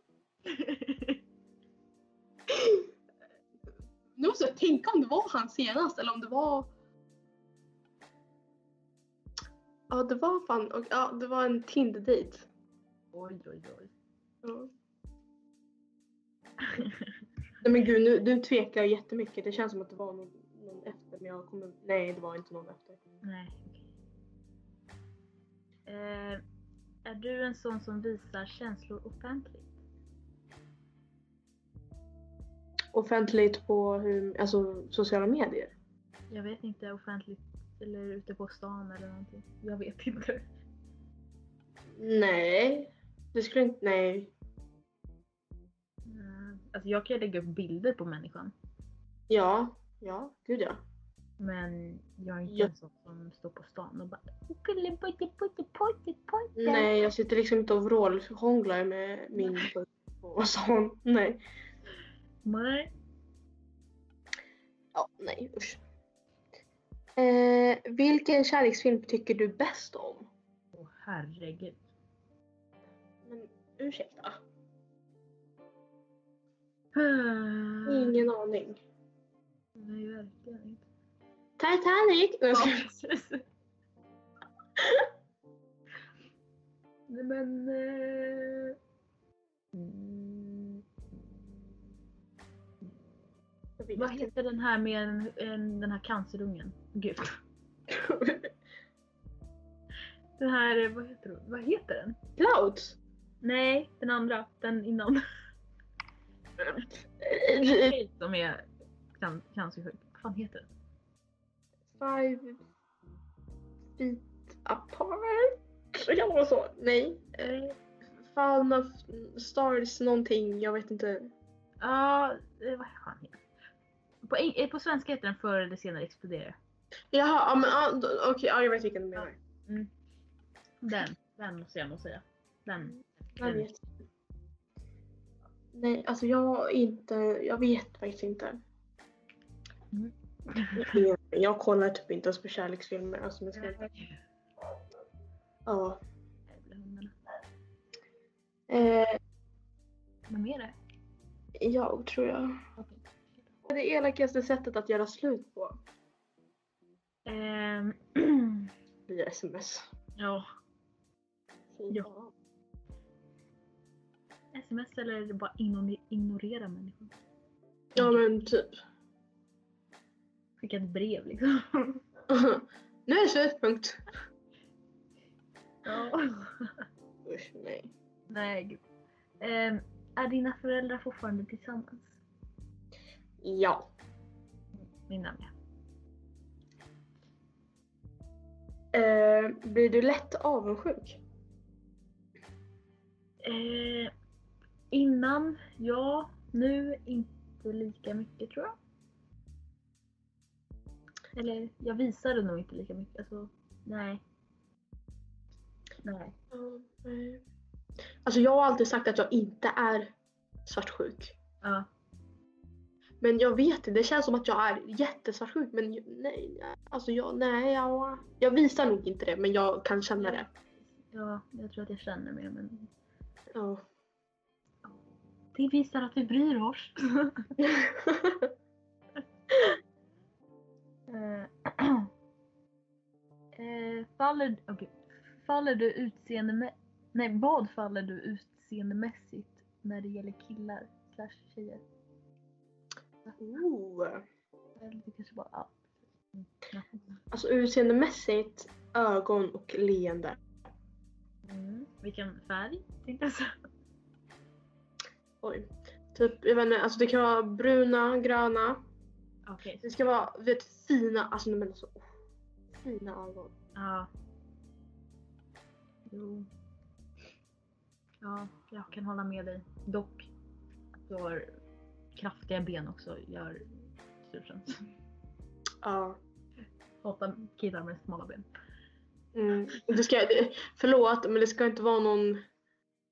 Speaker 2: Nu måste jag tänka om det var han senast eller om det var... Ja, det var fan... Och, ja, det var en Tinder-dejt.
Speaker 3: oj, oj, oj.
Speaker 2: Ja. Nej men gud, nu, nu tvekar jag jättemycket. Det känns som att det var någon, någon efter, men jag kommer... Nej, det var inte någon efter.
Speaker 3: Nej, okej. Eh, är du en sån som visar känslor offentligt?
Speaker 2: Offentligt på hur, alltså, sociala medier?
Speaker 3: Jag vet inte, offentligt eller ute på stan eller någonting. Jag vet inte.
Speaker 2: Nej. Det skulle inte... Nej.
Speaker 3: Mm. Alltså jag kan ju lägga upp bilder på människan.
Speaker 2: Ja. Ja, gud ja.
Speaker 3: Men jag är inte
Speaker 2: Ja.
Speaker 3: en sån som står på stan och bara "Gulle, putte, putte, putte, putte."
Speaker 2: Nej, jag sitter liksom inte och vrålhånglar med min och sånt. Nej.
Speaker 3: Nej.
Speaker 2: Ja, nej usch. Eh, vilken kärleksfilm tycker du bäst om?
Speaker 3: Åh herregud.
Speaker 2: Men ursäkta.
Speaker 3: Ingen. Mm.
Speaker 2: Ingen aning.
Speaker 3: Nej verkligen inte.
Speaker 2: Titanic! Nej, jag
Speaker 3: Ja,
Speaker 2: skojar.
Speaker 3: precis. Nej men... Eh... mm,
Speaker 2: Jag vet
Speaker 3: Vad
Speaker 2: inte.
Speaker 3: heter den här med en, en, den här cancerungen? Gud. Den här, eh, vad heter, hon? vad heter den?
Speaker 2: Clouds?
Speaker 3: Nej, den andra. Den innan.
Speaker 2: Eh,
Speaker 3: Tjej som är can- cancersjuk. Vad fan heter den?
Speaker 2: Five feet apart? Kan det vara så? Nej. Eh, Fall of stars någonting, jag vet inte.
Speaker 3: Ja, eh, vad fan heter den? På, eng- eh, på svenska heter den Förr eller senare exploderar.
Speaker 2: Jaha, ja, men ah, då- okej, ja, jag vet vilken du menar.
Speaker 3: Den. Den måste jag nog säga. Den.
Speaker 2: Jag vet. Nej, alltså jag är inte, jag vet faktiskt inte.
Speaker 3: Mm.
Speaker 2: Jag kollar typ inte ens på kärleksfilmer. Alltså, men ska,
Speaker 3: Jävla
Speaker 2: ja.
Speaker 3: hundarna.
Speaker 2: Eh,
Speaker 3: Vad mer är det?
Speaker 2: jag tror jag.
Speaker 3: Okej.
Speaker 2: Vad är det elakaste sättet att göra slut på?
Speaker 3: Ehm,
Speaker 2: Via sms.
Speaker 3: ja.
Speaker 2: Ja.
Speaker 3: Sms eller bara igno- ignorera människor.
Speaker 2: Ja men typ.
Speaker 3: Skicka ett brev liksom.
Speaker 2: nu är det slut, punkt.
Speaker 3: Ja.
Speaker 2: Usch, nej.
Speaker 3: Nej, gud. Ehm, Är dina föräldrar fortfarande tillsammans?
Speaker 2: Ja.
Speaker 3: Mina med.
Speaker 2: Eh, blir du lätt avundsjuk?
Speaker 3: Eh, innan, ja. Nu inte lika mycket tror jag. Eller jag visade nog inte lika mycket. Alltså, nej. Nej.
Speaker 2: Alltså jag har alltid sagt att jag inte är svartsjuk.
Speaker 3: Ja.
Speaker 2: Men jag vet inte, det känns som att jag är jättesvartsjuk men ju- nej, nej, alltså jag, nej, jag, jag visar nog inte det men jag kan känna det.
Speaker 3: ja, jag tror att jag känner mer men
Speaker 2: Ja.
Speaker 3: det visar att vi bryr oss. Eh, eh, faller, okej. faller du utseende... Nej, vad faller du utseendemässigt när det gäller killar slash tjejer?
Speaker 2: Ooh.
Speaker 3: Eller det kanske bara allt. Mm.
Speaker 2: Alltså utseendemässigt, ögon och leende.
Speaker 3: Mm. Vilken färg? tänkte jag säga.
Speaker 2: Oj. Typ, jag vet inte, alltså det kan vara bruna, gröna.
Speaker 3: Okej.
Speaker 2: Det ska vara, du vet, fina, alltså nej men alltså. oh, Fina ögon.
Speaker 3: Ja. Jo. Ja, jag kan hålla med dig. Dock, att du har kraftiga ben också gör tusen.
Speaker 2: Ja.
Speaker 3: Hatar killar med smala ben.
Speaker 2: Mm. Det ska, det, förlåt, men det ska inte vara någon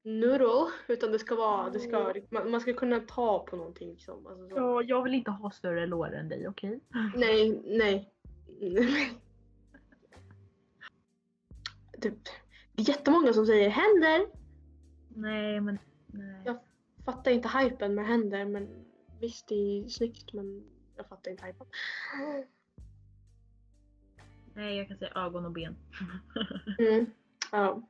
Speaker 2: nurl. Utan det ska vara, det ska, man, man ska kunna ta på någonting liksom. Alltså, så.
Speaker 3: Ja, jag vill inte ha större lår än dig, okej?
Speaker 2: Nej, nej. Typ, det är jättemånga som säger händer.
Speaker 3: Nej, men nej.
Speaker 2: Ja. Fattar inte hypen med händer. Men visst, det är snyggt men jag fattar inte hypen.
Speaker 3: nej, jag kan säga ögon och ben.
Speaker 2: Mm. Ja.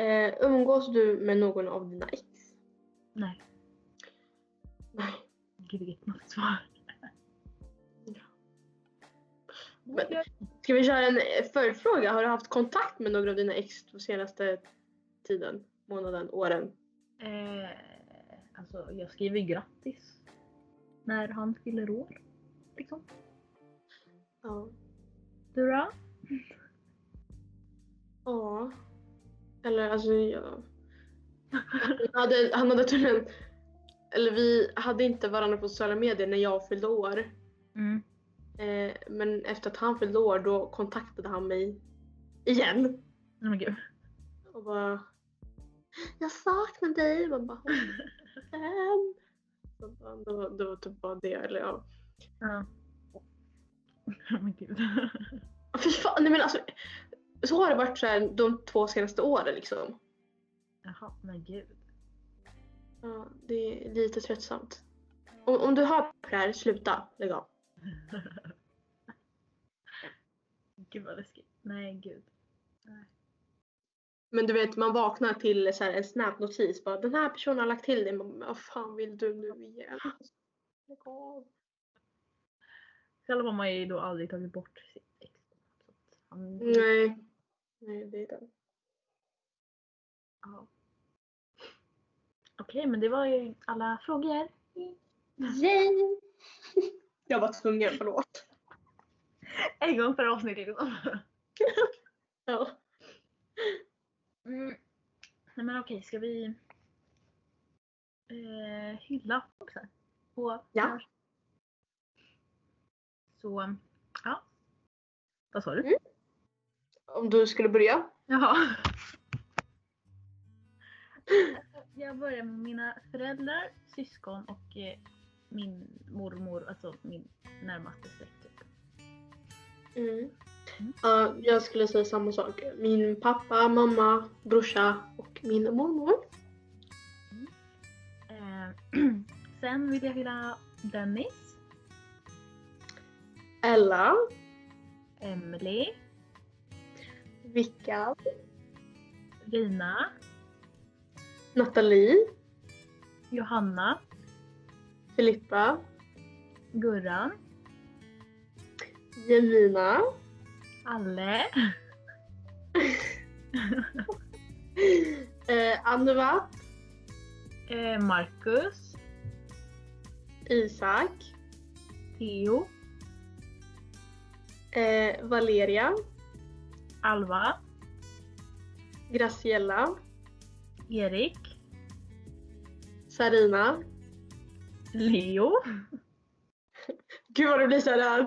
Speaker 2: Eh, umgås du med någon av dina ex?
Speaker 3: nej,
Speaker 2: Nej.
Speaker 3: gud vilket motsvar.
Speaker 2: Men- Ska vi köra en eh, följdfråga? Har du haft kontakt med några av dina ex de senaste tiden? Månaden? Åren?
Speaker 3: Eh, alltså, jag skriver grattis. När han fyller år. Liksom.
Speaker 2: Ja.
Speaker 3: Du då?
Speaker 2: Ja. Eller alltså jag... Han hade, han hade tydligen... Eller vi hade inte varandra på sociala medier när jag fyllde år.
Speaker 3: Mm.
Speaker 2: Eh, men efter att han fyllde år då kontaktade han mig igen.
Speaker 3: Nej men gud.
Speaker 2: Och bara... Jag saknar dig! Man bara... "Åh, fan." Så bara, Det var, det var typ bara det. Eller ja.
Speaker 3: Ja. men gud.
Speaker 2: Fy fan, nej men alltså. Så har det varit så här de två senaste åren liksom.
Speaker 3: Jaha, men gud.
Speaker 2: Ja, det är lite tröttsamt. Om, om du hör på det här, sluta. Lägg av.
Speaker 3: Gud vad läskigt. Nej, gud.
Speaker 2: Men du vet, man vaknar till så här en snap-notis. Bara, den här personen har lagt till dig. Man, bara, vad fan vill du nu igen? Lägg av.
Speaker 3: Själv har man ju då aldrig tagit bort sitt ex. Så att han-
Speaker 2: Nej. Nej, det är den.
Speaker 3: Ja. Okej, men det var ju alla frågor.
Speaker 2: Yay! Jag var tvungen, förlåt.
Speaker 3: En gång per avsnitt liksom.
Speaker 2: Ja.
Speaker 3: Mm. Nej men okej, ska vi eh, hylla också? Och,
Speaker 2: Ja.
Speaker 3: Så, ja. Vad sa du?
Speaker 2: Mm. Om du skulle börja?
Speaker 3: Jaha. Jag börjar med mina föräldrar, syskon och eh, min mormor, alltså min närmaste släkt. Typ.
Speaker 2: Mm. Ja, jag skulle säga samma sak. Min pappa, mamma, brorsa och min mormor.
Speaker 3: Eh, sen vill jag hylla Dennis,
Speaker 2: Ella,
Speaker 3: Emily,
Speaker 2: Vicka,
Speaker 3: Lina,
Speaker 2: Nathalie,
Speaker 3: Johanna,
Speaker 2: Filippa,
Speaker 3: Gurran,
Speaker 2: Jemina,
Speaker 3: Alle,
Speaker 2: eh, Anuva,
Speaker 3: eh, Marcus,
Speaker 2: Isak,
Speaker 3: Theo,
Speaker 2: eh, Valeria,
Speaker 3: Alva,
Speaker 2: Graciella,
Speaker 3: Erik,
Speaker 2: Sarina.
Speaker 3: Leo.
Speaker 2: Gud vad det blir såhär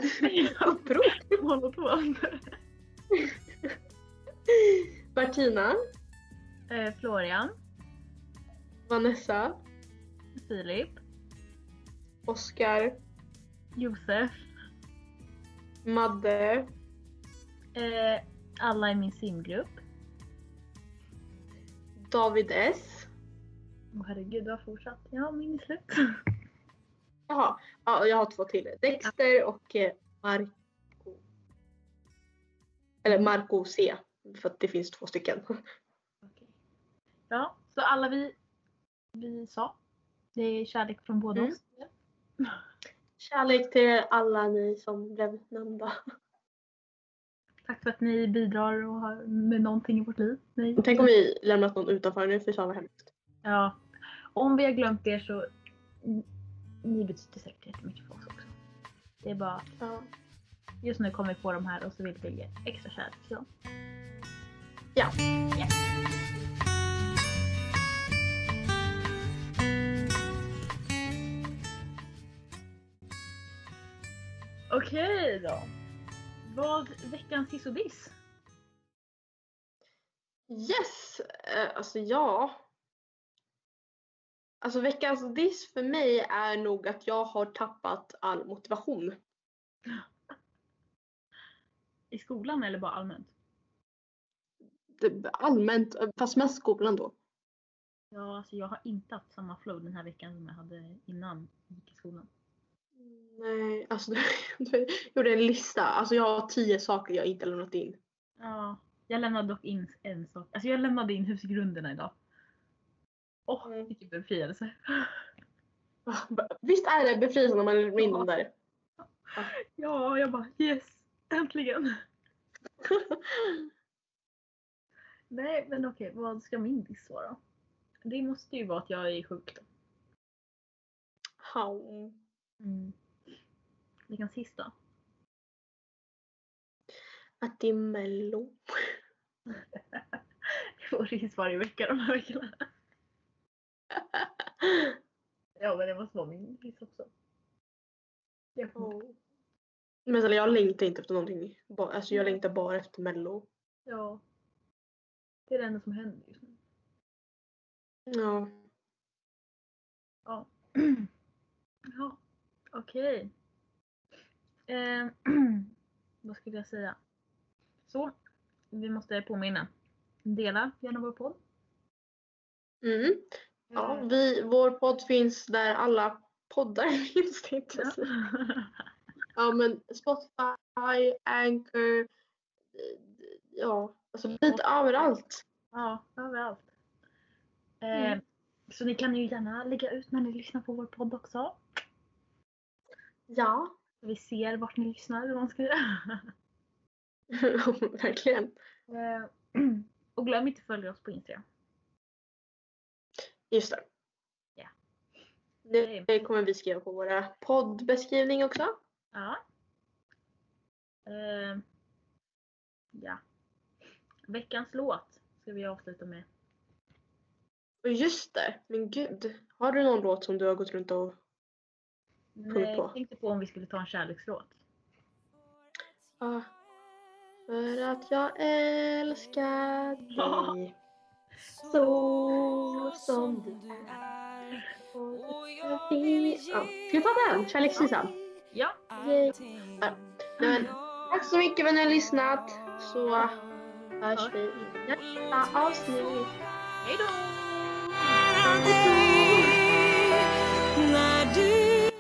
Speaker 2: upprop.
Speaker 3: Monotont.
Speaker 2: Martina,
Speaker 3: Eh, Florian,
Speaker 2: Vanessa,
Speaker 3: Filip,
Speaker 2: Oskar,
Speaker 3: Josef.
Speaker 2: Madde,
Speaker 3: Eh, alla i min simgrupp.
Speaker 2: David S.
Speaker 3: Åh herregud, vad fortsatt. Ja, min är slut.
Speaker 2: Jaha, ja, och jag har två till. Dexter och eh, Marco. Eller Marco C. För att det finns två stycken.
Speaker 3: Okej. Ja, så alla vi, vi sa. Det är kärlek från båda
Speaker 2: Mm.
Speaker 3: oss.
Speaker 2: Kärlek till alla ni som blev nämnda.
Speaker 3: Tack för att ni bidrar och har med någonting i vårt liv. Ni.
Speaker 2: Tänk om vi lämnat någon utanför nu, för fan vad hemskt.
Speaker 3: Ja. Om vi har glömt er så ni betyder säkert jättemycket för oss också. Det är bara
Speaker 2: Ja.
Speaker 3: just nu kommer vi på de här och så vill vi ge extra kärlek till dem.
Speaker 2: Ja.
Speaker 3: Yes. Okej då. Vad veckans hiss och diss?
Speaker 2: Yes! Eh, Alltså ja. Alltså veckans diss för mig är nog att jag har tappat all motivation.
Speaker 3: I skolan eller bara allmänt?
Speaker 2: Det- Typ Allmänt, eh, fast mest skolan då.
Speaker 3: Ja, alltså jag har inte haft samma flow den här veckan som jag hade innan jag gick i skolan.
Speaker 2: Nej, alltså du gjorde en lista. Alltså jag har tio saker jag inte lämnat in.
Speaker 3: Ja, jag lämnade dock in en sak. Alltså jag lämnade in husgrunderna idag. Åh,
Speaker 2: Mm.
Speaker 3: vilken befrielse.
Speaker 2: Ah, Visst är det befriande när man lämnar in dem där?
Speaker 3: Ja, jag bara yes, äntligen. Nej, men okej, vad ska min diss vara? Det måste ju vara att jag är sjuk. då.
Speaker 2: How?
Speaker 3: Mm. Veckans hiss då?
Speaker 2: Att det är mello.
Speaker 3: Jag får hiss varje vecka de här veckorna. Ja, men det måste vara min hiss också. Jag kommer
Speaker 2: Ja. Men snälla, jag längtar inte efter någonting. Ba- Alltså jag
Speaker 3: Nej.
Speaker 2: längtar bara efter mello.
Speaker 3: Ja. Det är det enda som händer just nu.
Speaker 2: Ja.
Speaker 3: Ja. ja. Okej. Eh, vad skulle jag säga? Så. Vi måste påminna. Dela gärna vår podd.
Speaker 2: Mm. ja
Speaker 3: Eh,
Speaker 2: vi, vår podd finns där alla poddar finns. tänkte jag
Speaker 3: ja.
Speaker 2: säga. Ja men Spotify, Anchor. eh, Ja, alltså lite överallt.
Speaker 3: ja, överallt. Eh,
Speaker 2: Mm.
Speaker 3: Så ni kan ju gärna lägga ut när ni lyssnar på vår podd också.
Speaker 2: Ja.
Speaker 3: Så vi ser vart ni lyssnar. Eller vad man ska säga.
Speaker 2: Verkligen.
Speaker 3: Eh, och glöm inte att följa oss på Instagram.
Speaker 2: Just det.
Speaker 3: Ja.
Speaker 2: Det, det kommer vi skriva på våra poddbeskrivning också.
Speaker 3: Ja. Eh, ja. Veckans låt ska vi avsluta med.
Speaker 2: Och just det, men gud. Har du någon låt som du har gått runt och...
Speaker 3: Nej,
Speaker 2: på.
Speaker 3: jag tänkte på om vi skulle ta en kärlekslåt.
Speaker 2: Ah, för att jag älskar
Speaker 1: Oh,
Speaker 2: dig. Så som du är. Och jag vill... Ja. Ska vi ta den? Kärleksvisan.
Speaker 3: Ja,
Speaker 2: Yay.
Speaker 1: Uh,
Speaker 2: Ja. Nej, men, tack så mycket för att ni har lyssnat. Så
Speaker 1: uh,
Speaker 2: hörs vi i nästa avsnitt.
Speaker 3: hejdå!
Speaker 4: När du är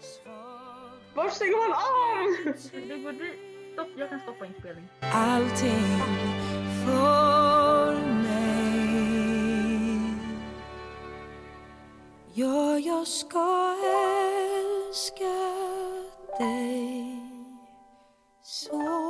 Speaker 4: svag
Speaker 2: Vart ska man av?
Speaker 3: Det går dit. Stopp, jag kan stoppa inspelningen.
Speaker 4: allting för mig. Ja, jag ska älska dig så